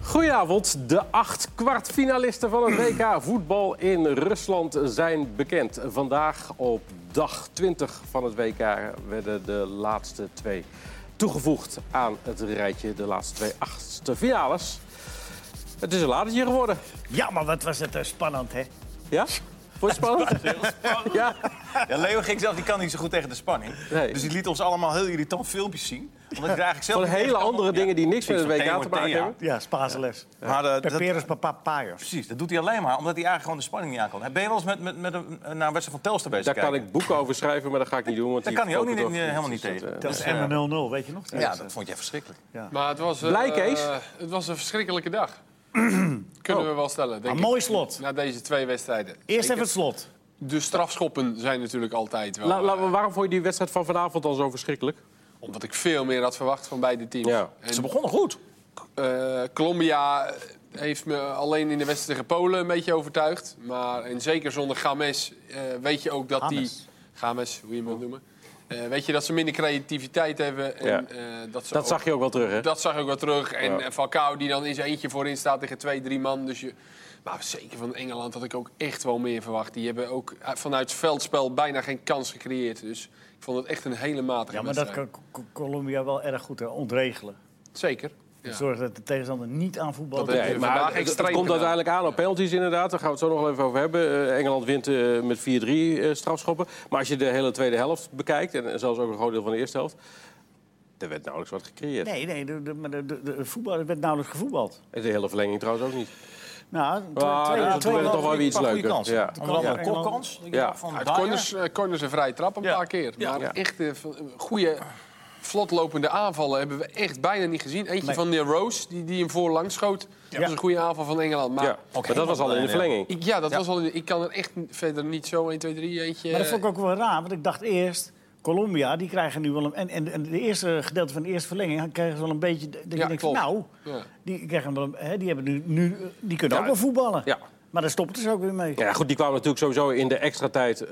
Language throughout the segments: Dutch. Goedenavond. De acht kwartfinalisten van het WK voetbal in Rusland zijn bekend. Vandaag op dag 20 van het WK werden de laatste twee toegevoegd aan het rijtje. De laatste twee achtste finales. Het is een latertje geworden. Ja, maar wat was het eh, spannend, hè? Ja? Vond je het spannend? Ja. Ja, Leo ging zelf, die kan niet zo goed tegen de spanning. Nee. Dus die liet ons allemaal heel irritant filmpjes zien. Omdat ik er eigenlijk zelf Van niet echt hele kan- andere Ja. dingen die niks met het Precies, WK van te Theo en maken Thea. hebben. Ja, Spaanse les. Maar eh, dat, Peperus papapaios. precies, dat doet hij alleen maar omdat hij eigenlijk gewoon de spanning niet aan kan. Ben je wel eens met, met, met een, eh, naar een wedstrijd van Telstar bezig Daar kan kijken? ik boeken over schrijven, maar dat ga ik niet doen. Want Daar die kan hij ook niet, verkopen in- toch helemaal niet niet. Dus dat, tegen. eh, Dat is en 0-0, weet je nog? Ja, dat vond jij verschrikkelijk. Maar het was, eh, Blij, Kees? eh, het was een verschrikkelijke dag. Kunnen we wel stellen. Denk Een ik. mooi slot. Na deze twee wedstrijden. Eerst even Zeker. het slot. De strafschoppen zijn natuurlijk altijd wel... La- la- eh, waarom vond je die wedstrijd van vanavond dan zo verschrikkelijk? omdat ik veel meer had verwacht van beide teams. Ja. En, Ze begonnen goed. eh, Colombia heeft me alleen in de wedstrijd tegen Polen een beetje overtuigd. Maar en zeker zonder Games eh, weet je ook dat die... James. Games, hoe je hem wilt noemen. Eh, weet je dat ze minder creativiteit hebben. En, Ja. eh, dat, ze Dat ook- zag je ook wel terug, hè? Dat zag ik wel terug. En Ja. eh, Falcao die dan in zijn eentje voorin staat tegen twee, drie man. Dus je... Maar zeker van Engeland had ik ook echt wel meer verwacht. Die hebben ook eh, vanuit het veldspel bijna geen kans gecreëerd. Dus ik vond het echt een hele matige Ja, maar dat wedstrijd. kan Co- Colombia wel erg goed hè, ontregelen. Zeker. Ja. Zorg dat de tegenstander niet aan voetbal Dat doet. is- Nee, we maar vandaag het- het, extreem komt gedaan. uiteindelijk aan op penalties inderdaad. Daar gaan we het zo nog wel even over hebben. Eh, Engeland wint eh, met 4-3 eh, strafschoppen. Maar als je de hele tweede helft bekijkt... en zelfs ook een groot deel van de eerste helft... er werd nauwelijks wat gecreëerd. Nee, nee, de, de, maar de, de, de voetbal er werd nauwelijks gevoetbald. En de hele verlenging trouwens ook niet. Nou, tw- Ah, twee- dat is twee- wel toch wel Goeie- weer iets paar goeie leuker. kansen. Ja. Onder andere Ja. een kopkans. Ik Ja. dacht van, Uit Dyer. corners, eh, corners een vrije trap een Ja. paar keer. Maar Ja. echt eh, v- goede, vlotlopende aanvallen hebben we echt bijna niet gezien. Eentje Nee. van de Rose, die, die hem voorlangs schoot. Dat was een goede aanval van Engeland. Maar Ja. Ook Maar dat was al in de helemaal verlenging. ik, ja, dat was al, ik kan er echt verder niet zo 1, 2, 3 eentje... Eh, Maar dat vond ik ook wel raar, want ik dacht eerst... Colombia, die krijgen nu wel een... En, en, en de eerste gedeelte van de eerste verlenging krijgen ze wel een beetje... denk ik Ja, denk van, klopt. nou, Ja. die, krijgen wel een, hè, die, hebben nu, nu, eh, die kunnen Ja. ook wel voetballen. Ja. Maar daar stopten ze ook weer mee. Ja, goed, die kwamen natuurlijk sowieso in de extra tijd eh,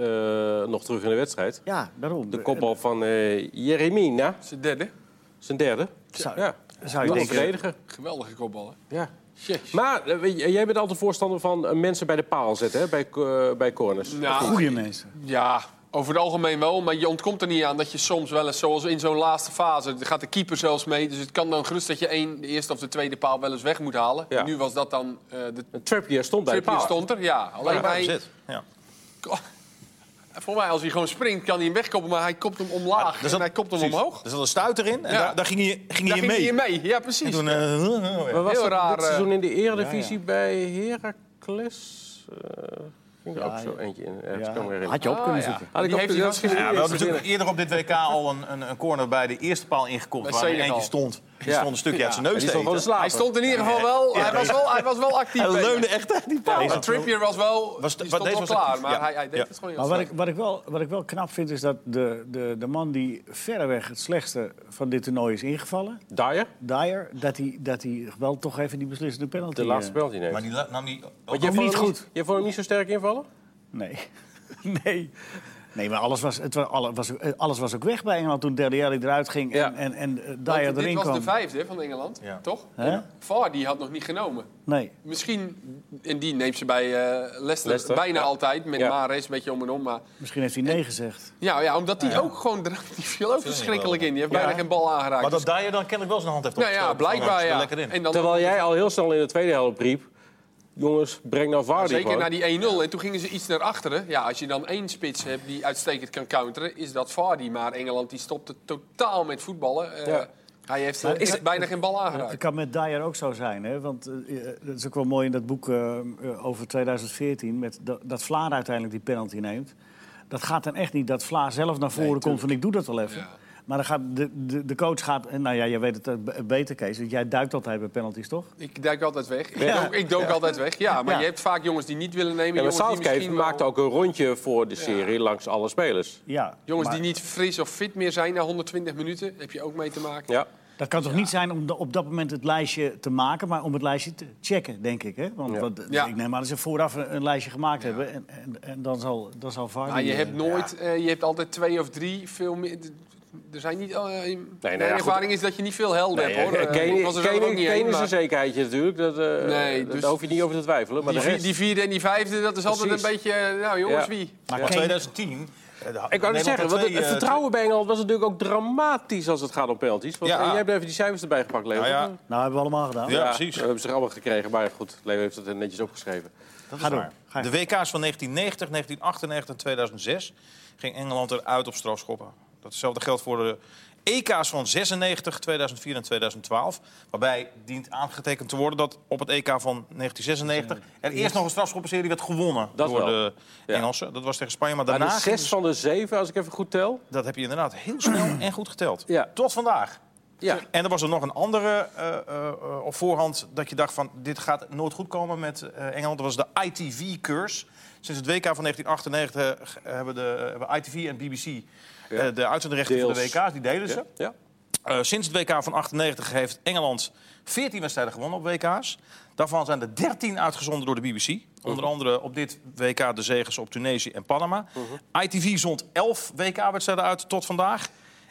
nog terug in de wedstrijd. Ja, daarom. De kopbal van eh Jeremina, Zijn eh, derde. zijn derde. Eh, Zou- ja. Zou je Nog een denken, verdediger. Geweldige kopballen. Ja. Jezus. Maar eh, weet je, jij bent altijd voorstander van eh, mensen bij de paal zetten, hè? Bij, eh, bij corners. Nou, goede mensen. Ja, over het algemeen wel. Maar je ontkomt er niet aan dat je soms wel eens, zoals in zo'n laatste fase, er gaat de keeper zelfs mee. Dus het kan dan gerust dat je één, de eerste of de tweede paal wel eens weg moet halen. Ja. Nu was dat dan eh, de Trippier stond bij de tripje paal. stond er. Ja, alleen Ja, hij. zit. Ja. Voor mij, als hij gewoon springt, kan hij hem wegkoppen. Maar hij kopt hem omlaag Ah, Er zat- en hij kopt hem precies. omhoog. Er zat een stuit erin en Ja. daar, daar ging hij, ging Daar hij in ging hij mee. in mee. Ja, En precies. toen, eh, oh ja. Maar was Heel dat raar, dit eh, seizoen in de eredivisie bij Heracles? Eh, ging er Ja, ook zo ja. eentje in. Ergens kan ik me Ja, herinneren. had je op Ah, kunnen ja. zoeken. Had ik Die ook- heeft hij dat is vast- geen Ja, we idee. hadden natuurlijk eerder op dit WK al een, een, een corner bij de eerste paal ingekort. Bij Waar er Senegal. eentje stond. Die Ja. stond een stukje uit zijn Maar neus die te stond gewoon eten. te slapen. Hij stond in ieder geval wel. Hij was wel, hij was wel actief. Hij bezig. leunde echt tegen die paal. Maar Trippier was wel. Was- die wat stond deze wel was klaar, actief, maar ja. hij, hij deed Ja. het gewoon heel Maar wat slecht. ik, wat, ik wel, wat ik wel knap vind is dat de, de, de man die verreweg het slechtste van dit toernooi is ingevallen, Dyer, Dyer, dat hij dat hij wel toch even die beslissende penalty... de laatste eh, penalty neemt. Maar die la- nam die... Want jij ook vond niet hem goed. Jij vond hem niet zo sterk invallen? Nee. nee. Nee, maar alles was, het was, alle- was- eh, alles was ook weg bij Engeland toen Deli Alli eruit ging Ja. en, en, en eh, Dyer Want erin dit was kwam. de vijfde van Engeland, Ja. toch? Hè? VAR die had nog niet genomen. Nee. Misschien, en die neemt ze bij eh Leicester, Leicester, bijna ja. altijd. Met Ja. Mares, een beetje om en om. Maar, Misschien heeft hij nee gezegd. ja, ja, omdat die ook gewoon... Die viel ook verschrikkelijk in. Die heeft bijna geen bal aangeraakt. Maar dat Dyer dan kennelijk wel zijn hand heeft nou opgestoken. ja, blijkbaar Zit er ja. lekker in. En dan Terwijl jij al heel snel in de tweede helft riep... jongens, breng nou Vardy zeker gewoon. naar die 1-0. En toen gingen ze iets naar achteren. Ja, als je dan één spits hebt die uitstekend kan counteren... is dat Vardy. Maar Engeland die stopte totaal met voetballen. Eh, Ja. Hij heeft eh, echt bijna geen bal aangeraakt. Het kan met Dyer ook zo zijn, hè? want eh, eh, dat is ook wel mooi in dat boek eh, eh, over 2014... Met dat, dat Vlaar uiteindelijk die penalty neemt. Dat gaat dan echt niet dat Vlaar zelf naar voren komt van ik doe dat wel even. Ja. Maar dan gaat de, de, de coach gaat, en nou ja, jij weet het eh, b- beter, Kees, want jij duikt altijd bij penalties, toch? Ik duik altijd weg. Ik dook, ik dook altijd weg. Ja, maar Ja. je hebt vaak jongens die niet willen nemen. Ja, maar jongens die Southgate misschien wel- maakte ook een rondje voor de serie langs alle spelers. Ja. Jongens maar- die niet fris of fit meer zijn na 120 minuten, heb je ook mee te maken. Ja. Dat kan toch niet zijn om de- op dat moment het lijstje te maken, maar om het lijstje te checken, denk ik. Hè? Want wat- Ja. ik neem aan dat ze vooraf een, een lijstje gemaakt hebben en, en, en dan zal, dan zal VAR Maar je die- eh, hebt nooit, eh, je hebt altijd twee of drie veel meer. Er zijn niet. eh, mijn nou ja, ervaring is dat je niet veel helden hebt hoor. Kane, Eh, ik was er zelf ook Kane- niet Kane heen, is maar een zekerheidje natuurlijk. Dat, eh, Nee, daar dus- hoef je niet over te twijfelen. Maar die, de vi- rest... die vierde en die vijfde, dat is altijd Precies. een beetje. eh, Nou jongens, Ja. wie? Maar Maar Kane- 2010... eh, de- Ik wou net Nederland zeggen, had want het, twee, het eh, vertrouwen bij Engeland was natuurlijk ook dramatisch als het gaat om penalties. Want, Ja. eh, jij hebt even die cijfers erbij gepakt, Leo. Nou ja, Ja, Nou, hebben we allemaal gedaan. Ja, precies. We hebben ze er allemaal gekregen, maar goed, Leo heeft het er netjes opgeschreven. Dat is Ga door. waar. Ga je. De WK's van 1990, 1998 en 2006 ging Engeland eruit op strafschoppen. Datzelfde geldt voor de EK's van 96, 2004 en 2012. Waarbij dient aangetekend te worden dat op het EK van 1996 er eerst nog een strafschoppenserie werd gewonnen Dat door wel. de Ja. Engelsen. Dat was tegen Spanje, maar daarna Maar de ging zes van de zeven, als ik even goed tel. het- dat heb je inderdaad heel snel en goed geteld. Ja. Tot vandaag. Ja, En er was er nog een andere eh, eh, eh, op voorhand dat je dacht van dit gaat nooit goed komen met eh, Engeland. Dat was de ITV-curse. Sinds het WK van 1998 hebben, de, hebben ITV en BBC eh, de uitzendrechten voor de Deels. WK's. Die delen ze. ja, ja. Eh, sinds het WK van 98 heeft Engeland 14 wedstrijden gewonnen op WK's. Daarvan zijn er 13 uitgezonden door de BBC. Onder Mhm. andere op dit WK de zegens op Tunesië en Panama. Mhm. ITV zond 11 WK-wedstrijden uit tot vandaag.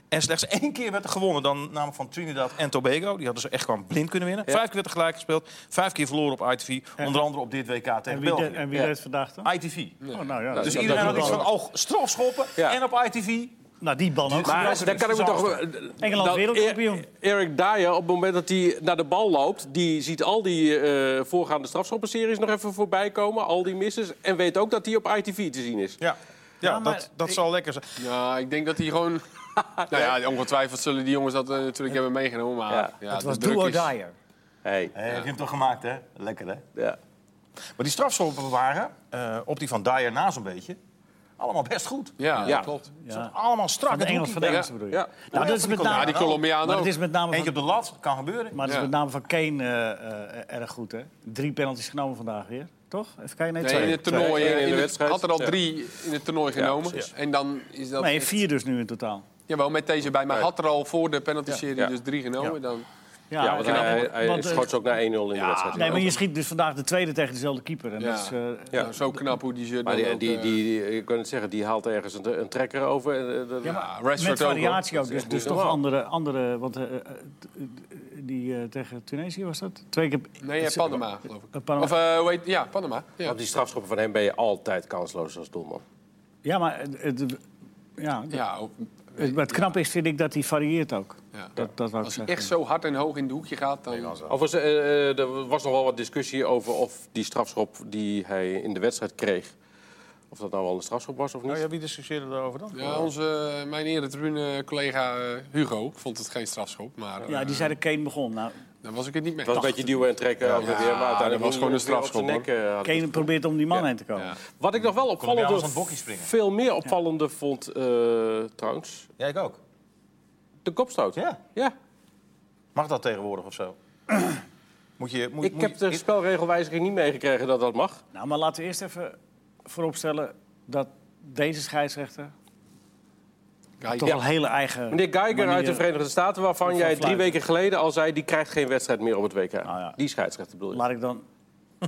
En slechts één keer werd er gewonnen, dan namelijk van Trinidad en Tobago. Die hadden ze echt gewoon blind kunnen winnen. Vijf keer werd er gelijk gespeeld, vijf keer verloren op ITV. Onder andere op dit WK tegen En wie, de, België. en wie Ja. deed vandaag dan? ITV. Oh, nou, ja. Ah, Dus dat- iedereen dat- had iets van, oh, strafschoppen Ja. en op ITV. nou, die ban ook. Maar is dan kan ik me toch... eh, Engeland dan- wereldkampioen. Er- Eric E- Dyer, op het moment dat hij naar de bal loopt... die ziet al die eh, voorgaande strafschoppenseries nog even voorbij komen. Al die misses. En weet ook dat hij op ITV te zien is. Ja, ja, dat, dat zal lekker zijn. Ja, ik denk dat die gewoon. nou ja, ongetwijfeld zullen die jongens dat eh, natuurlijk hebben meegenomen. Maar Ja. ja. Het de was druk do or is- die. Hey. Hey, Heb Eh, je hem toch gemaakt, hè? Lekker, hè? Ja. Maar die strafschoppen waren, eh, op die van Dyer na zo'n beetje, allemaal best goed. Ja, Ja. klopt. Ja. allemaal strak. Van de Het Engels, hoekje. van de Engels bedoel je? Ja. Nou, dat is met Ja, name, die Colombiaan maar ook. het is met name Eentje van, op de lat, kan gebeuren. maar het is Ja. met name van Kane eh, eh, erg goed, hè? Drie penalties genomen vandaag weer, toch? Even kijken. Nee, Nee, twee. in het toernooi. eh, Twee. in In de het- wedstrijd. Had er al Ja. drie in het toernooi genomen. precies. en dan is dat. Nee, echt- vier dus nu in totaal. Jawel, met deze bij. Maar had er al voor de penalty-serie Ja. Ja. dus drie genomen. Dan... Ja, want en- hij, hij Ah, want, eh, schoot ze ook naar 1-0 in de wedstrijd. Nee, maar je schiet dus vandaag de tweede tegen dezelfde keeper. En Ja. dat is, eh, Ja. Nou, zo knap hoe die ze Maar dan die, ook, die, eh, die, die- ik kan het zeggen, die haalt ergens een, een trekker over. en, eh, dat- Ja, Ah, maar Rashford met ook, hoor. variatie ook. Dat is Dus, echt dus niet toch normaal. andere, andere want eh, eh, t- die eh, tegen Tunesië was dat? Twee keer... Nee, eh, Panama, geloof ik. Eh, Panama. Of, eh, hoe heet- ja, Panama. Ja. Op die strafschoppen van hem ben je altijd kansloos als doelman. Ja, maar het, het- ja, Ja, ook- het, maar het knap is, vind ik, dat die varieert ook. Ja. Dat, dat wou ik als hij zeggen. echt zo hard en hoog in de hoekje gaat, dan... Overigens, eh, eh, er was nog wel wat discussie over of die strafschop die hij in de wedstrijd kreeg... of dat nou wel een strafschop was of niet. Nou ja, wie discussieerde daarover dan? Ja, onze, eh, mijn eretribune-collega eh, Hugo vond het geen strafschop, maar eh, Ja, die zei dat Kane begon. Nou, daar was ik het niet mee. Het was een beetje duwen en trekken. over en weer, maar dat uiteindelijk was gewoon een weer op zijn strafschop, nek, eh, had Kane probeert om die man heen te komen. Ja. Wat ik nog wel Colombiaans opvallende, aan het bokje springen. veel meer opvallende vond eh, trouwens, Jij ik ook. de kopstoot. Ja. ja. Mag dat tegenwoordig of zo? moet je, moet, Ik moet heb je- de spelregelwijziging niet meegekregen dat dat mag. Nou, maar laten we eerst even vooropstellen dat deze scheidsrechter Ja, toch ja. wel hele eigen... Meneer Geiger uit de manieren- Verenigde Staten, waarvan jij drie fluiten. weken geleden al zei... die krijgt geen wedstrijd meer op het WK. ja. Die scheidsrechter bedoel je. Laat ik dan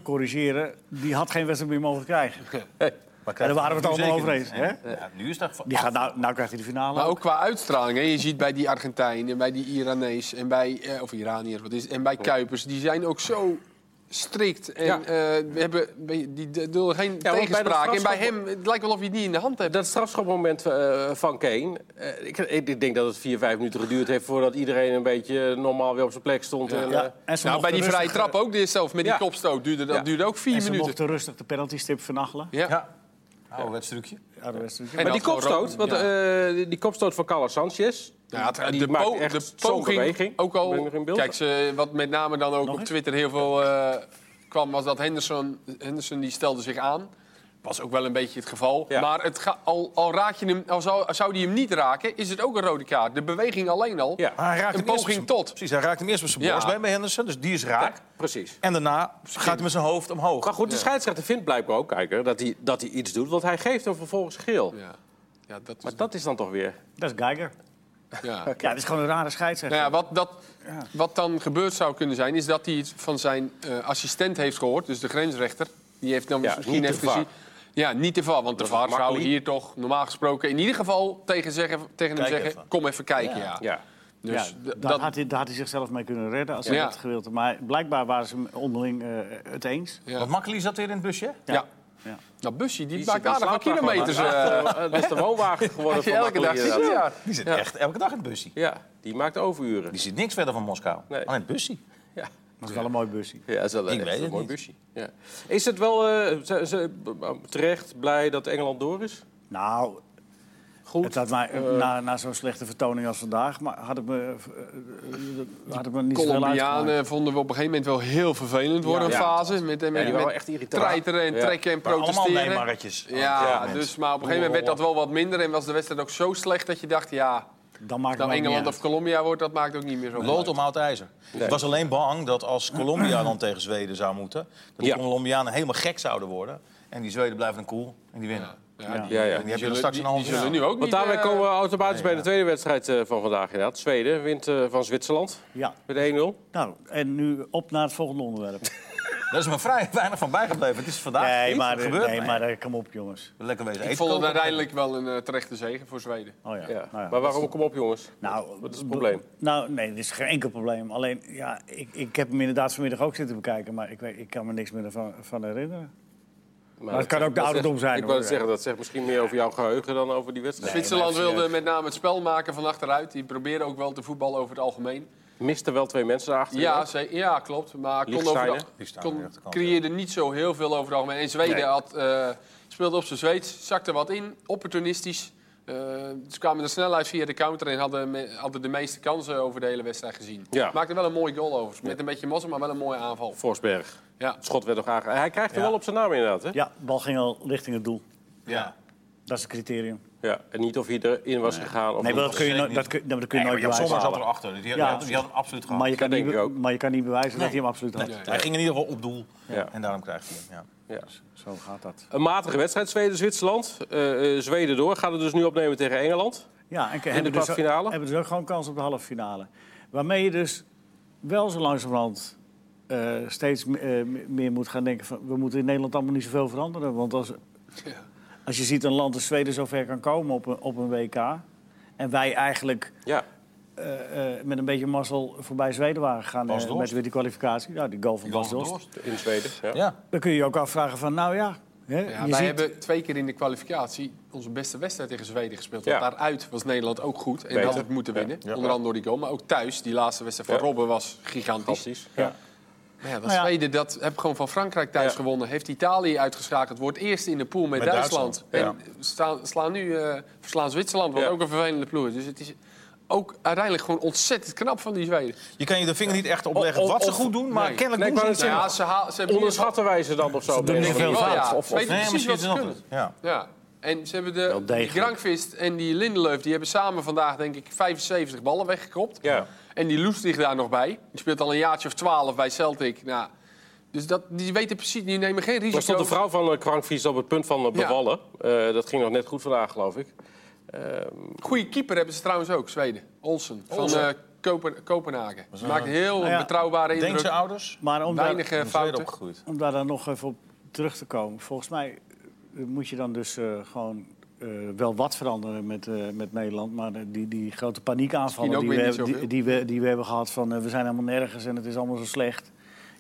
corrigeren. Die had geen wedstrijd meer mogen krijgen. maar krijgt daar waren we het nu allemaal zeker over niet. eens, hè? Ja, nu is dat... Die gaat, nou, nou krijgt hij de finale. Maar ook qua uitstraling. Hè. Je ziet bij die Argentijnen, bij die Iranees en bij, eh, of Iraniërs, wat is, het, en bij Kuipers, die zijn ook zo strikt. En Ja. eh, we hebben, we- die d- dulden geen bij dat tegenspraak. en bij strafschop- hem, het lijkt wel of je het niet in de hand hebt. Dat strafschopmoment eh, van Kane... eh, ik, ik ik denk dat het vier, vijf minuten geduurd heeft... voordat iedereen een beetje normaal weer op zijn plek stond. En, eh, Ja, en ze nou, bij mochten die vrije rustig- trap ook dit zelf met Ja. die kopstoot duurde dat Ja. duurde ook vier En ze minuten. mochten rustig de penaltystip vernachelen. Ja. Ja. Oude trucje. Ja, dat was natuurlijk- En Maar dat die kopstoot, gewoon- want, ja. eh, die- die kopstoot van Carlos Sanchez... Ja, het- die de, maakt po- echt de zo'n poging, beweging. ook Ben je al, nog in beeld? kijk, ze, wat met name dan ook Nog op eens? Twitter heel veel eh, kwam, was dat Henderson, Henderson die stelde zich aan. Was ook wel een beetje het geval. Ja. Maar het ga- al, al raak je hem, al zou, zou die hem niet raken, is het ook een rode kaart. De beweging alleen al. Ja. Maar hij raakt Een hem eerst poging met z'n- tot. Precies, hij raakt hem eerst met zijn Ja. borst bij- bij Henderson, dus die is raak. Precies. En daarna gaat hij met zijn hoofd omhoog. Maar goed, de scheidsrechter vindt blijkbaar ook, kijker, dat hij, dat hij iets doet... want hij geeft hem vervolgens geel. Ja. Ja, dat is, Maar dat is dan toch weer... Dat is Geiger. ja. Ja, dat is gewoon een rare scheidsrechter. Nou ja, wat, dat, wat dan gebeurd zou kunnen zijn, is dat hij het van zijn eh, assistent heeft gehoord, dus de grensrechter. Die heeft dan Ja, misschien niet te even vaak. gezien. Ja, niet te VAR, want de was VAR zou makkelijk. hier toch normaal gesproken in ieder geval tegen, zeggen, tegen hem Kijk zeggen: even. kom even kijken. Ja. Ja. Dus ja, d- daar, dat, had hij, daar had hij zichzelf mee kunnen redden als hij Ja. dat gewild had. Maar blijkbaar waren ze onderling eh, het eens. Ja. Wat makkelijk is dat weer in het busje? ja. Ja. dat busje die, Die maakt zit in aardig wat slaapwagen, kilometers. maar- eh, Ja, eh, dat is de woonwagen geworden als je van elke dag Napoli, ziet. inderdaad. Ja. Die zit echt elke dag in het busje. Ja, die maakt overuren. Die zit niks verder van Moskou. Nee. Alleen het busje. Ja. Dat is wel een mooi busje. Ja, dat is wel Ik echt weet een het mooi niet. busje. Ja. Is het wel eh, zijn ze b- terecht blij dat Engeland door is? Nou, Goed. het had mij, eh, na, na zo'n slechte vertoning als vandaag maar had ik me, eh, eh, had ik me niet zoveel uitgemaakt. Colombianen vonden we op een gegeven moment wel heel vervelend worden, Ja. een fase. Met, met, die met waren echt irritant. treiteren en Ja. trekken en Maar allemaal protesteren. Neymarretjes. Ja, Op dit moment. dus, maar op een gegeven moment werd dat wel wat minder. En was de wedstrijd ook zo slecht dat je dacht, ja, Dan maakt het of nou me ook Engeland niet of Colombia wordt, dat maakt ook niet meer zo Lood uit. om oud ijzer. Ik was alleen bang dat als Colombia dan tegen Zweden zou moeten... dat Ja. de Colombianen helemaal gek zouden worden. En die Zweden blijven dan cool en die winnen. Ja, Ja. die- ja, ja. En die hebben die dan straks een zullen- die halve zullen finale. nu ook Want niet... daarmee eh, komen we automatisch bij de ja. tweede wedstrijd eh, van vandaag. Inderdaad. Zweden wint eh, van Zwitserland Ja, met 1-0. nou, en nu op naar het volgende onderwerp. Daar is me vrij weinig van bijgebleven. Het is vandaag Nee, niet. maar, Het gebeurt. nee, Nee. maar eh, kom op, jongens. Lekker wezen. Ik Eten vond het koken. uiteindelijk wel een eh, terechte zege voor Zweden. Oh Ja. ja. Nou ja. maar waarom? Kom op, jongens. Nou, Wat is het b- probleem? Nou, nee, dit is geen enkel probleem. Alleen, ja, ik, ik heb hem inderdaad vanmiddag ook zitten bekijken, maar ik, weet, ik kan me niks meer van, van herinneren. Maar het kan ook de dat ouderdom zegt- zijn, Ik wou hoor. zeggen, dat zegt misschien meer over jouw geheugen dan over die wedstrijd. Zwitserland maar even wilde met name het spel maken van achteruit. Die probeerden ook wel te voetballen over het algemeen. Miste wel twee mensen achter. Ja, ze- ja klopt. Maar kon Lichtstein, over hè? de, Lichtstein aan de kon, rechterkant, creëerde niet zo heel veel over het algemeen. En Zweden Nee. had, eh, speelde op zijn Zweeds, zakte wat in, opportunistisch. Eh, ze kwamen er snel uit via de counter en hadden, me- hadden de meeste kansen over de hele wedstrijd gezien. Ja. Maakte wel een mooi goal over. Met een beetje mos, maar wel een mooie aanval. Forsberg. Ja. Het schot werd nog aange... Hij krijgt er Ja. wel op zijn naam inderdaad, hè? Ja, de bal ging al richting het doel. Ja. Dat is het criterium. Ja, En niet of hij erin was gegaan. Of Nee, maar niet. dat kun je, zeker nooit- dat kun, dat kun je Nee, nooit maar Jan bewijzen. Sommer zat erachter. Die had, Ja. die had- die had hem absoluut gehad. Maar je, kan Dat niet, denk be- ik ook. maar je kan niet bewijzen dat hij hem absoluut had. Hij ging in ieder geval op doel. Ja. En daarom krijgt hij hem. Ja. Ja. Zo gaat dat. Een matige wedstrijd, Zweden-Zwitserland. Eh, eh, Zweden door, gaat het dus nu opnemen tegen Engeland. Ja, en, de hebben, dus ook, kwartfinale? hebben dus ook gewoon kans op de halve finale. Waarmee je dus wel zo langzamerhand eh, steeds m- eh, m- meer moet gaan denken van... we moeten in Nederland allemaal niet zoveel veranderen. Want als, als je ziet een land als Zweden zover kan komen op een, op een WK... en wij eigenlijk Ja, eh, eh, met een beetje mazzel voorbij Zweden waren gegaan... Bas eh, Dost. met weer die kwalificatie. Nou, die goal van Bas Dost. in Zweden. Ja. Ja. Dan kun je je ook afvragen van, nou ja... Hè, Ja, je wij ziet- hebben twee keer in de kwalificatie onze beste wedstrijd tegen Zweden gespeeld. Ja. Want daaruit was Nederland ook goed en Beter. had het moeten winnen. Ja. Ja. Onder andere door die goal. Maar ook thuis, die laatste wedstrijd van Ja. Robben was gigantisch. Fantastisch. Ja. Maar ja, dat Nou ja. Zweden dat heb gewoon van Frankrijk thuis Ja. gewonnen. Heeft Italië uitgeschakeld. Wordt eerst in de pool met, Met Duitsland. Duitsland, En staan, slaan nu, eh, verslaan Zwitserland, wat Ja. ook een vervelende ploeg is. Dus het is ook uiteindelijk gewoon ontzettend knap van die Zweden. Je kan je de vinger niet echt opleggen Of- wat ze of- goed doen, maar nee. kennelijk Nee, ik doen ze wou het. net zeggen, Ja, ze, haal, ze hebben Onderschatten wij ze dan of zo? op doen deze niet veel manier? fout, Ja, of- of- Nee, Weet precies misschien wat is ze dat kunnen. het. Ja. Ja. En ze hebben Wel de, die degelijk. Grankvist en die Lindelöf, die hebben samen vandaag denk ik 75 ballen weggekopt. Ja. En die Loestig daar nog bij. Die speelt al een jaartje of 12 bij Celtic. Nou, dus dat, die weten precies, die nemen geen Er risico. stond de vrouw van eh, Krankvies op het punt van eh, bevallen. Eh, dat ging nog net goed vandaag, geloof ik. Goeie keeper hebben ze trouwens ook, Zweden. Olsen, van Olsen. eh, Kopen- Kopenhagen. Maakt heel Nou ja, betrouwbare indruk. Denk ze ouders? Maar om daar, Weinig eh, In Zweden fouten. opgegroeid. om daar dan nog even op terug te komen. Volgens mij eh, moet je dan dus eh, gewoon eh, wel wat veranderen met, eh, met Nederland. Maar eh, die, die grote Misschien paniekaanvallen ook die we, weer niet hebben- die, die zoveel. we, die we hebben gehad van eh, we zijn helemaal nergens en het is allemaal zo slecht.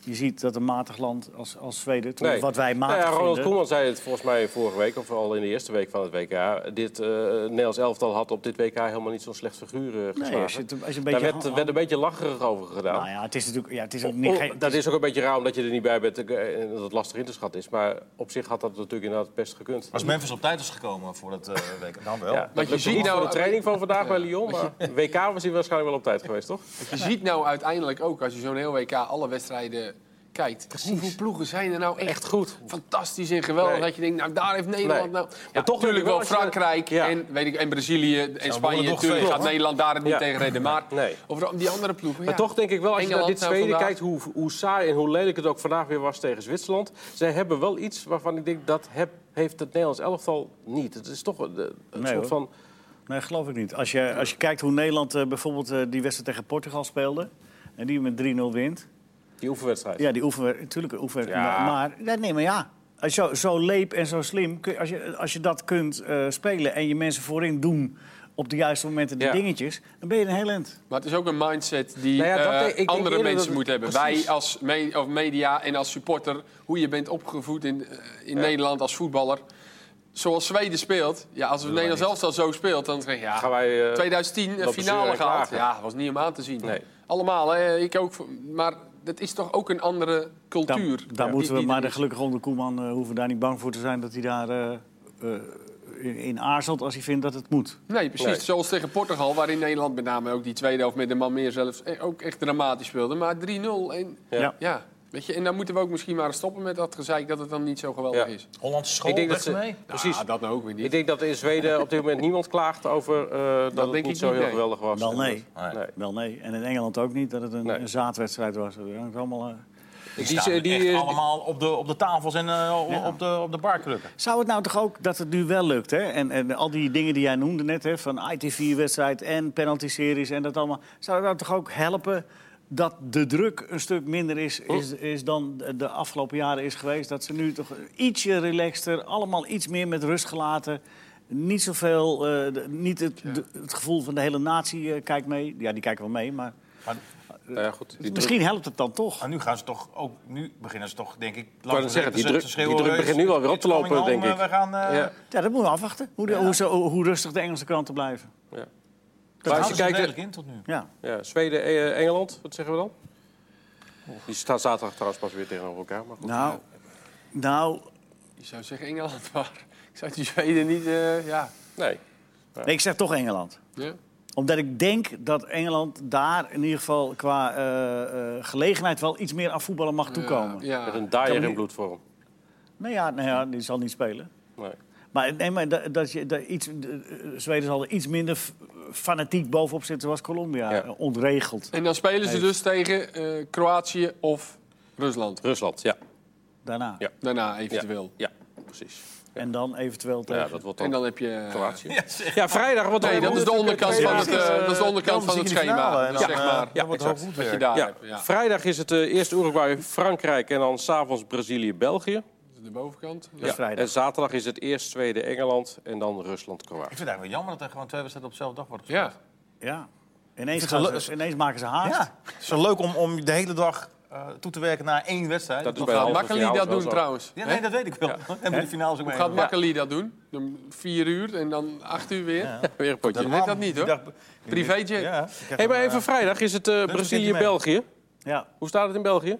Je ziet dat een matig land als, als Zweden, terwijl wat wij matig Nou ja, Ronald vinden... Koeman zei het volgens mij vorige week, of al in de eerste week van het WK. Dit eh Nederlands elftal had op dit WK helemaal niet zo'n slecht figuur eh, geslagen. als je het- als je een beetje Daar werd, hand- werd een beetje lacherig over gedaan. Nou ja, het is natuurlijk ja, het is ook niet... Oh, geen- dat is ook een beetje raar omdat je er niet bij bent eh, en dat het lastig in te schatten is. Maar op zich had dat natuurlijk inderdaad best gekund. Als Memphis op tijd is gekomen voor dat eh week, dan wel. Ja, Want dat je je ziet ziet nou nou- de training van vandaag bij Lyon, maar WK was hij waarschijnlijk wel op tijd geweest, toch? Je ziet nou uiteindelijk ook, als je zo'n heel WK alle wedstrijden kijkt... hoeveel ploegen zijn er nou echt Echt goed. fantastisch en geweldig. Nee. Dat je denkt, nou daar heeft Nederland Nee. nou... Maar toch toch natuurlijk wel denk ik wel, als je- Frankrijk Ja. en, weet ik, en Brazilië en Spanje. worden toch Natuurlijk veel, gaat hoor. Nederland daar het niet Ja. tegen redden. Maar Nee. over die andere ploegen, Maar ja. toch denk ik wel, als je naar Engeland dit nou Zweden vandaag. kijkt, hoe, hoe saai en hoe lelijk het ook vandaag weer was tegen Zwitserland. Zij hebben wel iets waarvan ik denk, dat heb- heeft het Nederlands elftal niet. Het is toch een, een Nee, soort hoor. van... Nee, geloof ik niet. Als je, als je kijkt hoe Nederland eh, bijvoorbeeld eh, die wedstrijd tegen Portugal speelde... en die met 3-0 wint... Die oefenwedstrijd. Ja, die oefenen natuurlijk oefenen. Ja. Maar, ja, nee, maar ja. Als je zo, zo leep en zo slim, kun je- als je, als je dat kunt eh, spelen en je mensen voorin doen op de juiste momenten die Ja. dingetjes, dan ben je een heel end. Maar het is ook een mindset die Nou ja, dat eh, denk- ik denk andere eerder mensen dat- moeten hebben. precies. Wij als me- of media en als supporter, hoe je bent opgevoed in, eh, in Nederland als voetballer. Zoals Zweden speelt, ja, als Nederland zelfs al zo speelt, dan zeg je ja, Gaan wij, eh, 2010 een dat finale bezeuren en gehaald. klagen. Ja, was niet om aan te zien. Nee. Allemaal, hè, ik ook. Maar dat is toch ook een andere Dan, cultuur. daar die- moeten we, die maar er de, is. gelukkig onder Koeman eh, hoeven we daar niet bang voor te zijn dat hij daar eh, eh, in, in aarzelt als hij vindt dat het moet. Nee, precies. Nee. Zoals tegen Portugal, waarin Nederland met name ook die tweede helft met een man meer zelfs eh, ook echt dramatisch speelde. Maar 3-0 en Ja. Ja. ja, weet je, en dan moeten we ook misschien maar stoppen met dat gezeik dat het dan niet zo geweldig Ja. is. Hollandse school, Ik denk Oh, weg dat ze- ermee. Precies. Ja, dat nou ook weer niet. Ik denk dat in Zweden op dit moment niemand klaagt over eh, dat, Dat het denk niet ik zo niet, heel nee. geweldig was. Wel nee. Nee. Nee. Wel nee. En in Engeland ook niet, dat het een, Nee. een zaadwedstrijd was. Dat hangt allemaal, eh. Die, Die- staan die- echt eh, die- allemaal op de, op de tafels en eh, op, op de, op de barkrukken. Zou het nou toch ook dat het nu wel lukt? Hè? En, en al die dingen die jij noemde net, hè, van ITV-wedstrijd en penalty-series en dat allemaal. Zou het nou toch ook helpen dat de druk een stuk minder is, is, is dan de- de afgelopen jaren is geweest? Dat ze nu toch ietsje relaxter, allemaal iets meer met rust gelaten. Niet zoveel, eh, de- niet het, de- het gevoel van de hele natie eh, kijkt mee. Ja, die kijken wel mee, maar Maar, Nou ja, goed, die druk, misschien helpt het dan toch. maar nu gaan ze toch ook, nu beginnen ze toch, denk ik, wou net zeggen, die druk- die druk begint nu wel weer op te "It's coming lopen, home, denk eh, We gaan, eh, Ja. Ja, dat moeten we afwachten. Hoe, de- hoe, ze- hoe rustig de Engelse kranten blijven. ja. Dat Maar als houden je ze dus kijkt, redelijk in tot nu. Ja. ja, Zweden, eh, Engeland, wat zeggen we dan? Die staan zaterdag trouwens pas weer tegenover elkaar. Maar goed. Nou, nou Je zou zeggen Engeland, maar ik zou die Zweden niet... eh, ja. Nee. nee, ik zeg toch Engeland. Ja. Omdat ik denk dat Engeland daar in ieder geval qua eh, eh, gelegenheid wel iets meer aan voetballen mag toekomen. Ja, Met ja. een daaier Kan in niet. bloedvorm. Nou, ja, nou ja, die zal niet spelen. Nee. Maar, nee, maar dat, dat je, dat iets, de, eh, Zweden zal er iets minder f- fanatiek bovenop zitten zoals Colombia. Ja. eh, Ontregeld. En dan spelen ze Nee. dus tegen eh, Kroatië of Rusland. Rusland, ja. Daarna. Ja. Daarna Ja, eventueel. ja precies. En dan eventueel tegen... Ja, dat wordt En dan dan heb je... Kroatië. Ja, vrijdag. Wat Nee, dat is de onderkant van het, eh, dat is de onderkant dan van het zie je de finale schema. en Dus dan, zeg eh, maar, Ja, exact. wat je daar Ja, hebt. Ja. vrijdag is het eh, eerst Uruguay, Frankrijk en dan s'avonds Brazilië-België. De bovenkant. Dat is vrijdag. En zaterdag is het eerst Zweden, Engeland en dan Rusland-Kroatië. Ik vind het eigenlijk wel jammer dat er gewoon twee wedstrijden op dezelfde dag worden gespeeld. Ja. Ja. Ineens, Het is gaan gelu- ze, ineens maken ze haast. Ja, het is wel leuk om, om de hele dag eh, toe te werken naar één wedstrijd. Dat is Nog bij de wel- Gaat halve Makkeli finale dat wel doen zo. trouwens? Ja, nee, dat weet ik wel. En bij de finale ook mee. Gaat Makkeli dat doen? Om vier uur en dan acht uur weer? Weer een potje. Je weet dat niet, hoor. Privétje. Ja. hey, maar even vrijdag is het eh, Brazilië-België. Ja. Hoe staat het in België?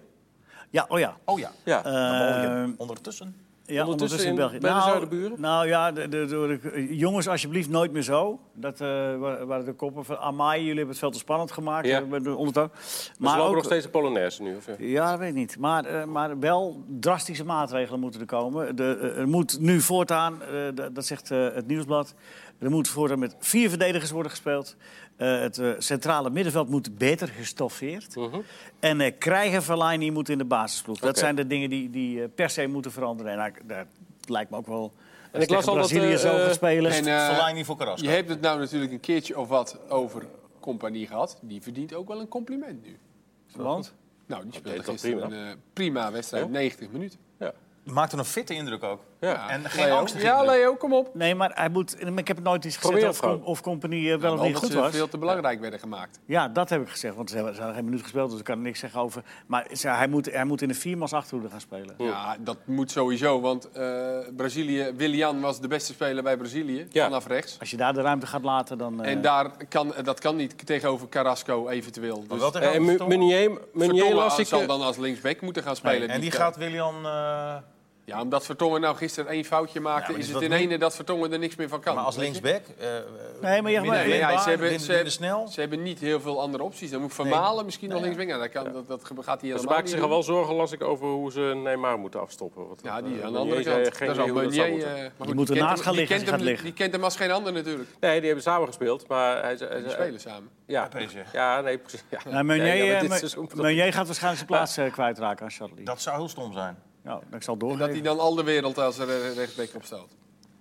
ja, oh ja. Oh ja. Ja. Eh, Ondertussen. Ondertussen Ja, ondertussen, in- in België. bij de nou, Zuiderburen? Nou ja, de, de, de- de- jongens, alsjeblieft nooit meer zo. Dat eh, wa- waren de koppen van Amai, jullie hebben het veel te spannend gemaakt. Ja. eh, met de ondertoon. maar ze Maar lopen ook, nog steeds de Polonaise nu. Of, ja? ja, dat weet ik niet. Maar, eh, maar wel drastische maatregelen moeten er komen. De, eh, er moet nu voortaan, eh, d- dat zegt eh, het Nieuwsblad... er moet voortaan met vier verdedigers worden gespeeld. Eh, het eh, centrale middenveld moet beter gestoffeerd. Mhm. En eh krijgen Verlaine moet in de basisploeg. Dat Oké. zijn de dingen die, die eh, per se moeten veranderen. En daar, daar lijkt me ook wel... En ik las al dat, Brazilië eh, zo eh, gaan spelen. En, eh, Verlaine voor Carrasco. je hebt het nou natuurlijk een keertje of wat over compagnie gehad. Die verdient ook wel een compliment nu. Want? Nou, die speelde deed dat gisteren prima. een eh, prima wedstrijd, Ja. 90 minuten. Ja. Maakte een fitte indruk ook. Ja. En geen Leo. angst. Ja, Leo, kom Eh, op. Nee, maar hij moet... Ik heb nooit iets gezegd Probeer of, het gewoon. Nou, com- of compagnie eh, wel of niet Omdat goed ze was. veel te belangrijk werden gemaakt. Ja, dat heb ik gezegd, want ze hebben, ze hebben geen minuut gespeeld, dus ik kan er niks zeggen over. Maar ze- hij, moet, hij moet in de viermans achterhoede gaan spelen. Ja, dat moet sowieso, want eh, Brazilië, Willian was de beste speler bij Brazilië, Ja. vanaf rechts. Als je daar de ruimte gaat laten, dan. eh, En daar kan, dat kan niet tegenover Carrasco eventueel. Dus wel tegen Eh, en Mu- Vertongen. Meunier, Meunier Vertongen las ik... zal eh, dan als linksback moeten gaan spelen. En die kan- gaat Willian... eh, Ja, omdat Vertongen nou gisteren één foutje maakte, maar is is het dat in niet- ene dat Vertongen er niks meer van kan. maar als Weet je? linksback... eh, Nee, maar ja, minder maar- Nee, ja, weerbaar, ze, hebben, minder- ze, minder hebben- snel. ze hebben niet heel veel andere opties. Dan moet Van Nee. Malen misschien nog linksback. Nou, dat, kan, dat, dat gaat hij helemaal Ze maken niet zich doen. al wel zorgen, las ik, over hoe ze Neymar moeten afstoppen. Want Ja, dat, die eh, aan de andere Meunier zei kant. geen Daar idee zal hoe dat zou Meunier, moeten. eh, maar goed, moet die ernaast gaan kent hem- liggen die als je kent hem- gaat liggen. Die kent hem als geen ander natuurlijk. Nee, die hebben samen gespeeld, maar hij zei... hij Die zei- spelen samen. Ja, Bij PSG. ja, nee, precies. Ja. Nou, Meunier, Ja, ja, maar eh, dit Me- seizoen- Meunier gaat waarschijnlijk zijn plaats eh, kwijtraken aan Charlie. Dat zou heel stom zijn. Ja, ik zal Omdat doorgeven. hij dan al de wereld als er eh, rechtsback op staat.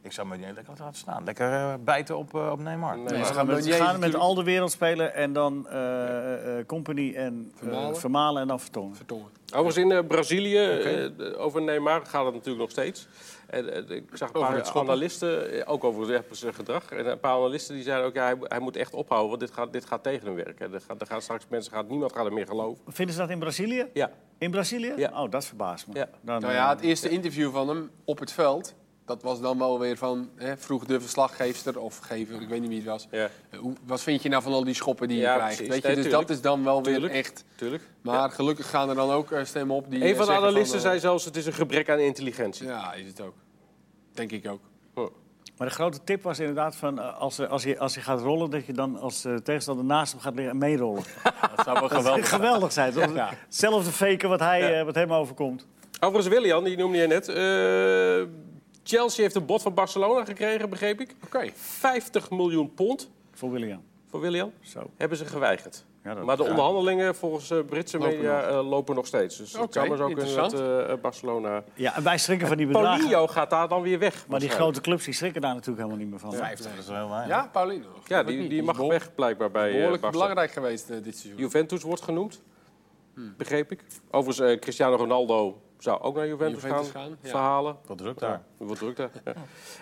Ik zou Meunier lekker laten staan. Lekker eh, bijten op, eh, op Neymar. Nee. ze maar gaan met, ze Meunier is gaan met natuurlijk- al de wereld spelen en dan eh, eh, Company en eh, Vermalen. Vermalen en dan Vertongen. Vertongen. Overigens in eh, Brazilië, eh, over Neymar gaat het natuurlijk nog steeds. En, eh, ik zag een het paar schoppen. analisten, eh, ook over eh, zijn gedrag. En een paar analisten die zeiden ook, ja, hij, hij moet echt ophouden, want dit gaat, dit gaat tegen hem werken. Er gaat, er gaan straks mensen, gaat, niemand gaat hem meer geloven. Vinden ze dat in Brazilië? Ja, In Brazilië? Ja. Oh, dat verbaast me. Ja. Dan, Nou ja, eh, het eerste interview van hem op het veld. Dat was dan wel weer van, hè, vroeg de verslaggeefster of gever, ik weet niet wie het was. ja, Eh, Hoe, wat vind je nou van al die schoppen die je Ja, krijgt? precies. Weet je, Nee, dus tuurlijk. dat is dan wel weer Tuurlijk. echt. tuurlijk. Maar gelukkig gaan er dan ook eh, stemmen op die. Een eh, van de zeggen analisten van, eh, zei zelfs, het is een gebrek aan intelligentie. Hm. Ja, is het ook. Denk ik ook. Maar de grote tip was inderdaad van eh, als, eh, als, je, als je gaat rollen, dat je dan als eh, tegenstander naast hem gaat liggen en meerollen. Dat zou wel geweldig zijn. Geweldig zijn. toch? Zelfde faken wat, hij, eh, wat hem overkomt. Overigens, Willian, die noemde je net. eh, Chelsea heeft een bod van Barcelona gekregen, begreep ik. Oké. 50 miljoen pond Voor William. voor Willian. Zo. Hebben ze geweigerd. Ja, dat- maar de ja. onderhandelingen volgens eh, Britse Lopen media eh, lopen nog steeds. Dus het Oké, zou maar zo kunnen dat interessant. eh, Barcelona... Ja, en wij schrikken van die bedragen. Paulinho gaat daar dan weer weg. Maar die waarschijnlijk. grote clubs die schrikken daar natuurlijk helemaal niet meer van. Dat is wel heel weinig. Ja, Paulino. Ja, die, die mag weg blijkbaar bij eh Behoorlijk Barcelona. belangrijk Hmm. geweest eh, dit seizoen. Juventus wordt genoemd, begreep ik. Overigens, eh, Cristiano Ronaldo zou ook naar Juventus, Juventus gaan, gaan, ja. verhalen. Wat druk daar. Er wordt druk daar. Ja.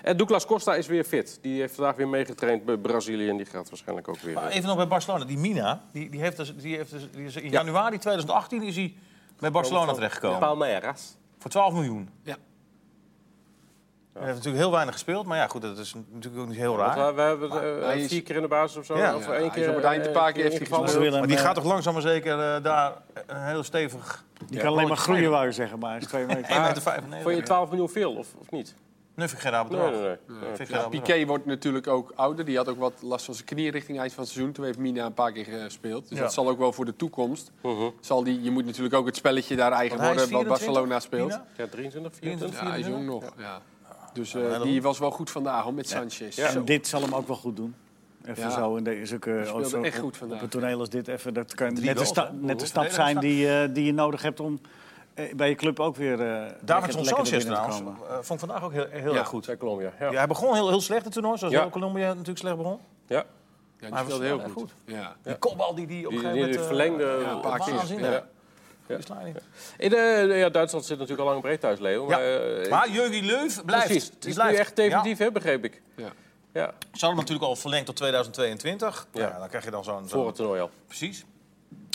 En Douglas Costa is weer fit. Die heeft vandaag weer meegetraind bij Brazilië. En die gaat waarschijnlijk ook weer. Maar eh, even nog bij Barcelona. Die Mina, die, die heeft dus, die heeft dus, die is in januari 2018 is hij bij Barcelona terechtgekomen. Palmeiras. Voor 12 miljoen. Ja. Hij heeft natuurlijk heel weinig gespeeld, maar ja, goed, dat is natuurlijk ook niet heel Want raar. we, we hebben eh, hij is- vier keer in de basis of zo. Ja. Of Ja, hij één is keer. op het eind een eh, paar keer heeft hij ingevallen. Ze willen Maar hem, die eh, gaat toch langzaam maar zeker eh, daar een heel stevig... die kan alleen maar groeien, wou je zeggen. Maar hij is twee meter. 1,95 meter. vijf- Vond je 12 miljoen veel of, of niet? Nee, vind ik geen raar bedrag. Nee, nee, nee. Vind ik geen Ja, raar bedrag. Piqué wordt natuurlijk ook ouder. Die had ook wat last van zijn knieën richting eind van het seizoen. Toen heeft Mina een paar keer gespeeld. Dus Ja. dat zal ook wel voor de toekomst. Zal die, je moet natuurlijk ook het spelletje daar eigen Want hij worden is wat 24, Barcelona speelt. Mina? Ja, 23, 24. Ja, hij is jong nog. Ja. Dus eh, Ja, maar die dat- was wel goed vandaag hoor, met Sanchez. Ja. En dit zal hem ook wel goed doen. Even Ja. zo in deze zulke- oh, speelde zo echt op- goed vandaag. Op een toneel als dit even. Dat kan net, de goals, sta- hè? net de Hoe- stap zijn die, eh, die je nodig hebt om eh, bij je club ook weer. eh Davidson lekker- lekker Sanchez binnen te trouwens komen. eh, vond ik vandaag ook heel, heel Ja. erg goed. Bij Colombia. Ja. Ja, Ja. hij begon heel, heel slecht het toernooi, zoals Ja. heel Colombia natuurlijk slecht begon. Ja. Ja, die Maar hij speelde was heel wel goed. erg Ja. Die kopbal die, die op een Die, gegeven die moment... eh, verlengde. ja, een paar keer. Waanzinnig. Ja. die sla je niet. In, eh, ja, Duitsland zit natuurlijk al lang breed thuis, Leo. Maar, Ja. eh, Maar Jurgen Leuf blijft. precies. Het Die is nu blijft. echt definitief, hè, begreep ik. Ja. Ja, Ja. Ze hadden hem natuurlijk al verlengd tot 2022. Ja. Ja. dan krijg je dan zo'n... voor zo'n- het toernooi al. Precies.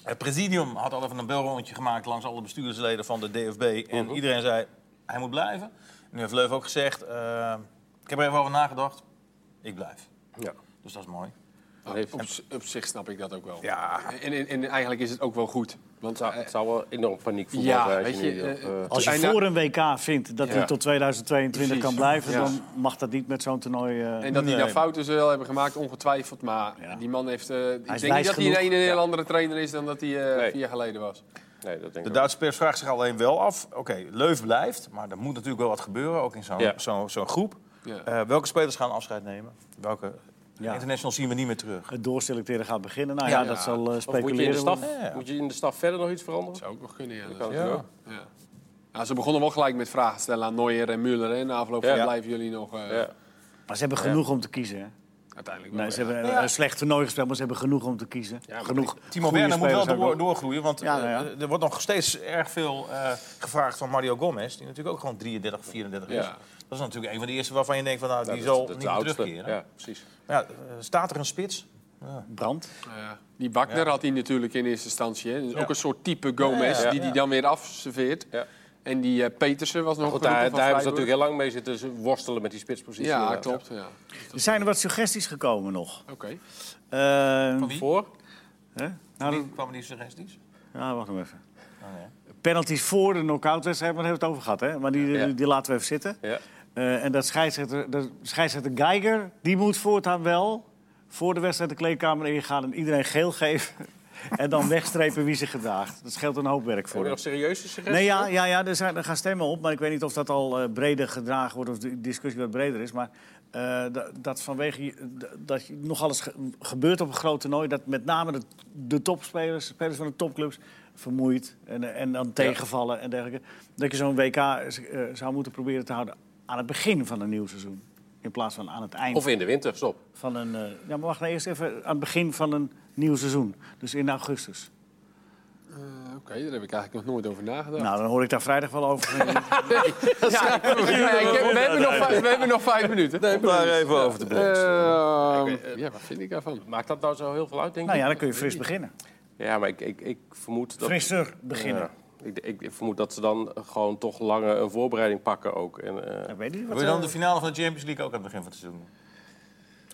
Het presidium had al even een belrondje gemaakt langs alle bestuursleden van de DFB. En iedereen zei, hij moet blijven. Nu heeft Leuf ook gezegd, eh, ik heb er even over nagedacht. Ik blijf. Ja. Dus dat is mooi. Dat heeft- Op, z- op zich snap ik dat ook wel. Ja, En, en, en eigenlijk is het ook wel goed. Want Nou, eh, het zou wel enorm paniek voelen ja, zijn. als weet je, niet op, eh, eh, Als je Bijna- voor een WK vindt dat hij Ja. tot 2022 kan Precies. blijven, Ja. dan mag dat niet met zo'n toernooi. eh, En dat hij Nee. daar fouten zal hebben gemaakt, ongetwijfeld. Maar Ja. die man heeft. eh, ik denk wijs niet dat hij in een genoeg. heel andere trainer is dan dat hij eh, Nee. vier jaar geleden was. nee, dat denk De ik ook. Duitse pers vraagt zich alleen wel af. Oké, Leuf blijft, maar er moet natuurlijk wel wat gebeuren, ook in zo'n Ja. zo'n- zo'n groep. Ja. Eh, welke spelers gaan afscheid nemen? Welke Ja. internationals zien we niet meer terug? het doorselecteren gaat beginnen. Nou Ja. ja, dat zal eh, Of moet je, in de speculeren. staf, worden. Ja. moet je in de staf verder nog iets veranderen? Zou ook nog kunnen, ja. kan Dat- natuurlijk ook. Ja. ja. Nou, ze begonnen wel gelijk met vragen stellen aan Neuer en Müller. hè. Na afloop van Ja. blijven jullie nog. eh, Ja. Maar ze hebben genoeg om te kiezen. Hè? Uiteindelijk wel. Nee, ze hebben een Ja. een slecht toernooi gespeeld, maar ze hebben genoeg om te kiezen. maar genoeg Timo goede Werner moet wel spelers ook door, doorgroeien, want Ja, nou ja. eh, er wordt nog steeds erg veel eh, gevraagd van Mario Gomez. Die natuurlijk ook gewoon 33, 34 is. Ja. Dat is natuurlijk een van de eerste waarvan je denkt, van, nou, die Ja, zal dat is niet de meer oudste. terugkeren. Ja, precies. Maar ja, eh, staat er een spits? Brand. Nou Ja. Die Wagner had hij natuurlijk in eerste instantie. Hè. Dus Ja. Ook een soort type Gomez Ja, ja, die die dan weer afserveert. Ja. En die eh, Petersen was nog Goed, een daar, daar grote van hebben ze Freiburg. natuurlijk heel lang mee zitten worstelen met die spitspositie. Ja, inderdaad. klopt. Ja. Er zijn er wat suggesties gekomen nog. Oké. Eh, Van wie? Voor? hè? Nou, dat- Wie kwamen die suggesties? ja, wacht nog even. Oh, nee. Penalties voor de knock-outwedstrijd, maar daar hebben we het over gehad. Hè? Maar die, Ja. die, die laten we even zitten. Ja. Eh, en dat scheidsrechter, dat scheidsrechter Geiger, die moet voortaan wel voor de wedstrijd de kleedkamer ingaan en iedereen geel geven. en dan wegstrepen wie zich gedraagt. Dat scheelt een hoop werk Heb voor je hem. nog serieuze suggesties? Nee, ja, ja, ja er, zijn, er gaan stemmen op, maar ik weet niet of dat al eh, breder gedragen wordt of de discussie wat breder is. Maar eh, da- dat vanwege je- da- dat je nog alles ge- gebeurt op een groot toernooi, dat met name de, de topspelers, spelers van de topclubs, vermoeid en, eh, en dan tegenvallen en eh, dergelijke. Dat je zo'n WK eh, zou moeten proberen te houden aan het begin van een nieuw seizoen. In plaats van aan het eind Of in de winter, stop. van een. eh, ja, maar wacht nou eerst even aan het begin van een nieuw seizoen. Dus in augustus. Eh, Oké, daar heb ik eigenlijk nog nooit over nagedacht. Nou, dan hoor ik daar vrijdag wel over. Ja, ik heb- we, hebben nog vijf, we hebben nog vijf minuten. Om daar even over te praten. Ehm, ja, wat vind ik daarvan? Maakt dat nou zo heel veel uit, denk nou je? ja, dan kun je fris beginnen. Ja, maar ik, ik, ik vermoed dat... Frisser beginnen. Ja. ik, ik, ik vermoed dat ze dan gewoon toch langer een voorbereiding pakken ook. En, eh, Ja, weet je Wil wat, je dan eh, de finale van de Champions League ook aan het begin van het seizoen doen?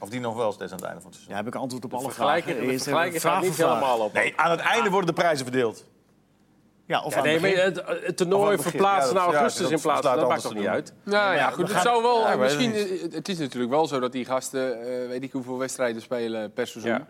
Of die nog wel steeds aan het einde van het ja, seizoen? heb ik antwoord op alle vragen. vergelijken Eerst even vergelijken gaat vraag niet voor vraag. helemaal op. Nee, aan het einde worden de prijzen verdeeld. Ja, of aan nee, het maar begin. het, het Of aan toernooi het begin. verplaatsen Ja, naar dat- ja, augustus dat in plaats slaat van... Dat maakt anders toch te niet doen. uit? Nou ja, goed, we het gaan- zou wel... Ja, ik weet misschien, het eh, het is natuurlijk wel zo dat die gasten, eh, weet ik hoeveel wedstrijden spelen per seizoen. Ja.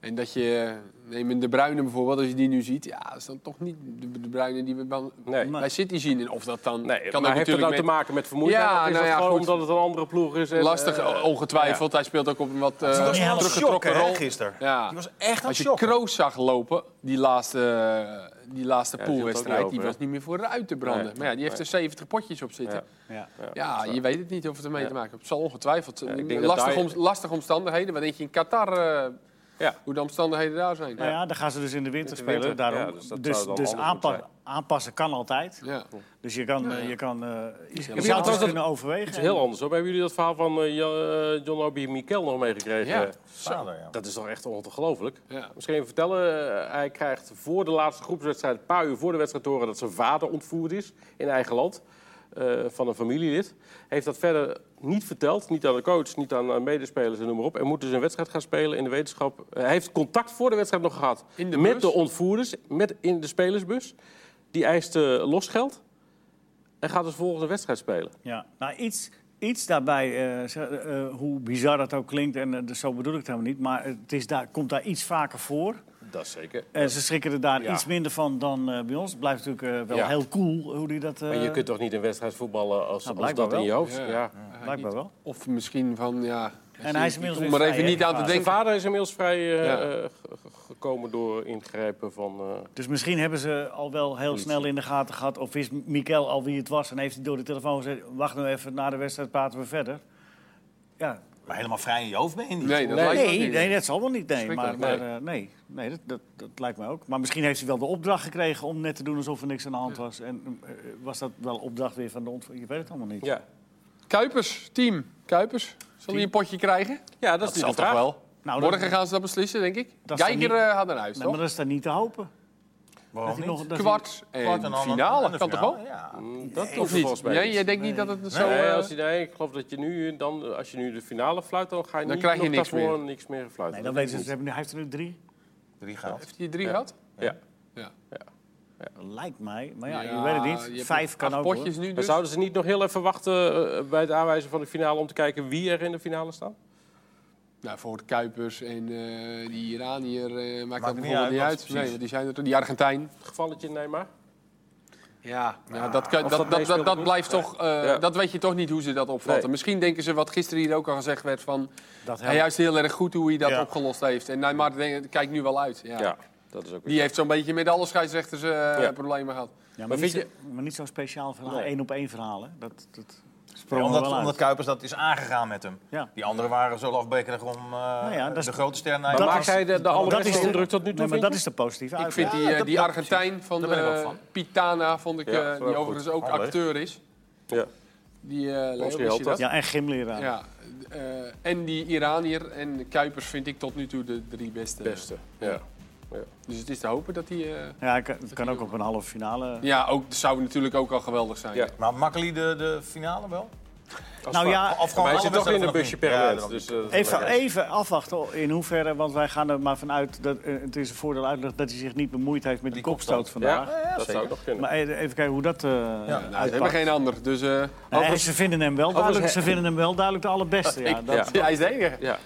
En dat je, eh, neem een De Bruyne bijvoorbeeld, als je die nu ziet. Ja, dat is dan toch niet de De Bruyne die we dan Nee. bij City zien. En of dat Nee, dan... kan maar ook heeft het natuurlijk nou met te maken met vermoeidheid? Ja, of is nou dat ja, gewoon goed. omdat het een andere ploeg is? en, Lastig, eh, eh, ongetwijfeld. Hij speelt ook op een wat eh, Die was heel teruggetrokken shock, hè, rol. gisteren. Ja. Die was echt aan het Als je shocken. Kroos zag lopen, die laatste, eh, die laatste Ja, die hield ook poolwedstrijd, niet die over, was niet meer vooruit te branden. Nee. Maar ja, die heeft er 70 potjes op ja. zitten. Ja. Ja, je weet het niet of het ermee Ja. te maken heeft. Het zal ongetwijfeld. zijn. ik denk dat lastige, daar- om- lastige omstandigheden. Wat denk je in Qatar, eh, Ja. hoe de omstandigheden daar zijn? Nou ja, dan gaan ze dus in de winter In de winter, spelen. Daarom. ja, dus dus dat dus, zou dan anders aanpa- moeten aanpassen kan altijd. Ja. Dus je kan, eh, je kan eh, je zou trouwens het dat- eens kunnen overwegen. Het is heel anders. Hoor. Hebben jullie dat verhaal van eh, Jo- eh, John Obi Mikel nog meegekregen? Eh, Ja. Vader, ja. Dat is toch echt ongelooflijk? Ja. Misschien even vertellen, eh, hij krijgt voor de laatste groepswedstrijd, een paar uur voor de wedstrijd, te horen dat zijn vader ontvoerd is in eigen land. eh, van een familielid. Hij heeft dat verder niet verteld. Niet aan de coach, niet aan, aan medespelers en noem maar op. En moet dus een wedstrijd gaan spelen in de wetenschap. Eh, hij heeft contact voor de wedstrijd nog gehad. In de met bus? de ontvoerders, met in de spelersbus. Die eiste losgeld. En gaat dus volgende wedstrijd spelen. Ja, nou iets, iets daarbij, eh, ze- eh, hoe bizar dat ook klinkt, en eh, dus zo bedoel ik het helemaal niet, maar het is daar, komt daar iets vaker voor. Dat is zeker. En ze schrikken er daar Ja. iets minder van dan eh, bij ons. Het blijft natuurlijk eh, wel Ja. heel cool hoe die dat. eh Maar je kunt toch niet een wedstrijd voetballen als, als Nou, blijkbaar dat in je wel. hoofd? Ja. Ja. Blijkbaar wel. Of misschien van ja. En hij is inmiddels om weer er vrij, even hè, niet aan te vader. Zijn denken. vader is inmiddels vrij eh, Ja. eh, ge- ge- gekomen door ingrijpen van... eh, Dus misschien hebben ze al wel heel snel in de gaten gehad. Of is Mikel al wie het was en heeft hij door de telefoon gezegd: Wacht nou even, na de wedstrijd praten we verder. Ja. Maar helemaal vrij in je hoofd ben je niet. Nee, dat Nee. lijkt me ook Nee, niet. nee, dat zal wel niet. Nee, maar, Schrikkelijk, maar, eh, nee. nee dat, dat, dat lijkt mij ook. Maar misschien heeft hij wel de opdracht gekregen om net te doen alsof er niks aan de hand was. En eh, was dat wel opdracht weer van de ontvanger? Je weet het allemaal niet. ja. Kuipers, team. Kuipers. Zal hij een potje krijgen? ja, dat is Dat niet zal de toch vraag. wel? Nou, Morgen dat- gaan ze dat beslissen, denk ik. Dat is Kijker dan niet- eh, had een huis, Nee, maar toch? dat is daar niet te hopen. Waarom hij niet? nog- dat hij- Kwart en, Kwart en dan- eh, finale. en de kan toch finale, wel? Ja. Dat Of hoeft er niet? volgens mij Nee, niet. jij denkt niet dat het zo... Nee, eh, als je, nee, ik geloof dat je nu, dan, als je nu de finale fluit, dan ga je Dan niet krijg je nog niks daarvoor niks meer fluiten. Nee, dan Dat weten ze, is ze hebben nu, hij heeft er nu drie. Drie gehaald. Heeft hij drie gehad? niet. Ja. Ja. Lijkt mij. Maar ja, je weet het je hebt niet. Vijf acht kan ook. hoor. potjes nu Maar dus. zouden ze niet nog heel even wachten eh, bij het aanwijzen van de finale... om te kijken wie er in de finale staat? Nou, voor de Kuipers en eh, die Iranier eh maakt dat niet bijvoorbeeld uit, niet wat uit. precies. Nee, want die zijn er toch. Die Argentijn. Gevalletje Neymar? Ja, nou, dat, kan- of dat dat, dat, dat, meespeelt dat goed. blijft toch... eh, Ja. Dat weet je toch niet hoe ze dat opvatten. Nee. Misschien denken ze wat gisteren hier ook al gezegd werd van... Dat Hij juist heel erg goed hoe hij dat Ja. opgelost heeft. En Neymar denkt, kijkt nu wel uit. Ja. Ja. dat is ook weer... Die heeft zo'n beetje met alle scheidsrechters eh, Ja. problemen gehad. Ja, maar, Maar niet vind zo, maar niet zo'n speciaal verhaal. Nee. één op één verhaal. Hè. Dat, dat Ja, sprong er omdat, wel uit. omdat Kuipers dat is aangegaan met hem. Ja. Nou Die anderen waren zo lafbekerig om eh, ja, dat is- de grote ster naar Maar dat maakt is- hij de, de dat is allerbeste de- indruk tot nu toe, Nee, maar vind dat je? is de positieve Ik vind uitleg. die, eh, dat- die dat- Argentijn van Daar ben ik ook de van. Pitana, vond ik, Ja, eh, dat is wel die goed. overigens ook Handig. acteur is. Ja. Die eh Leo, wist je Helter. dat? Ja, en gymleraar. Ja, eh, en die Iranier en Kuipers vind ik tot nu toe de drie beste. Beste, ja. Dus het is te hopen dat die... eh, Ja, ik- het kan ook op een halve finale. ja, ook, zou natuurlijk ook al geweldig zijn. Ja. Maar Makkeli de, de finale wel? Nou ja, Of Maar hij alle zit toch in wedstrijden een nog busje niet? per Ja, maand. dat- Dus, eh, dat is Even, lekker. even afwachten in hoeverre, want wij gaan er maar vanuit dat eh, het is een voordeel uitleg dat hij zich niet bemoeid heeft met die, Die kopstoot, kopstoot. vandaag. Ja, dat zou zeker. nog kunnen. Maar e- even kijken hoe dat eh Nou, uitpakt. ze hebben geen ander. Dus, eh, Nee, overigens- ze, vinden hem wel duidelijk, ze vinden hem wel duidelijk de allerbeste. Ja, dat, Ja. ja, hij is de enige. Ja.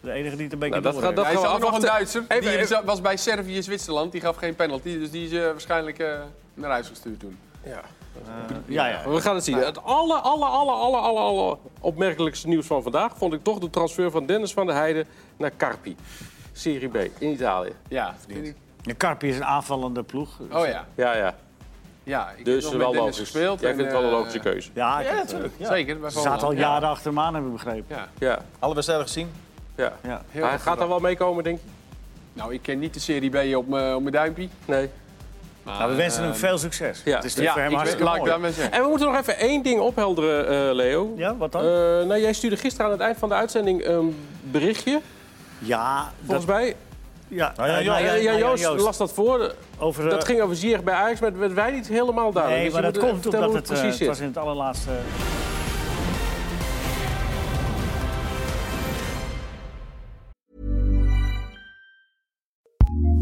De enige die het een beetje Nou, dat door gaat- heeft. Hij is gaan we ook nog een afwachten. Duitser. Even- die even- za- was bij Servië-Zwitserland. Die gaf geen penalty. Dus die is eh, waarschijnlijk eh, naar huis gestuurd toen. Ja, ja. We gaan het zien. Het alle, alle, alle, alle, alle, alle opmerkelijkste nieuws van vandaag vond ik toch de transfer van Dennis van der Heijden naar Carpi. Serie B in Italië. Ja, Ja, Carpi is een aanvallende ploeg. Oh ja. Ja, ja. Ja, ik heb Dus nog wel met Dennis logisch. gespeeld. Jij en, vindt het wel een eh, logische keuze. Ja, ik Ja, heb, eh, natuurlijk. Ja. Zeker. bij Ze zaten al Volendam. jaren achter hem aan, hebben we begrepen. Ja. Ja, Alle wedstrijden gezien. ja. Ja. Heel Hij goed gaat er wel mee komen, denk je? Nou, ik ken niet de Serie B op mijn op mijn duimpje. Nee. Maar, Nou, we wensen eh, hem veel succes. ja. Het is Ja, voor hem ik hartstikke weet- laat ik mooi. daarmee zeggen. En we moeten nog even één ding ophelderen, eh, Leo. Ja, wat dan? Eh, nou, jij stuurde gisteren aan het eind van de uitzending een berichtje, ja, volgens dat, mij. ja. Nou ja, Eh, Jo- nou Ja, nou ja, Joost, las dat voor. Over, eh, Dat ging over Ziyech bij Ajax, maar dat werd wij niet helemaal duidelijk. Nee, Dus maar je dat moet even komt vertellen omdat hoe het, eh, precies het was zit. in het allerlaatste...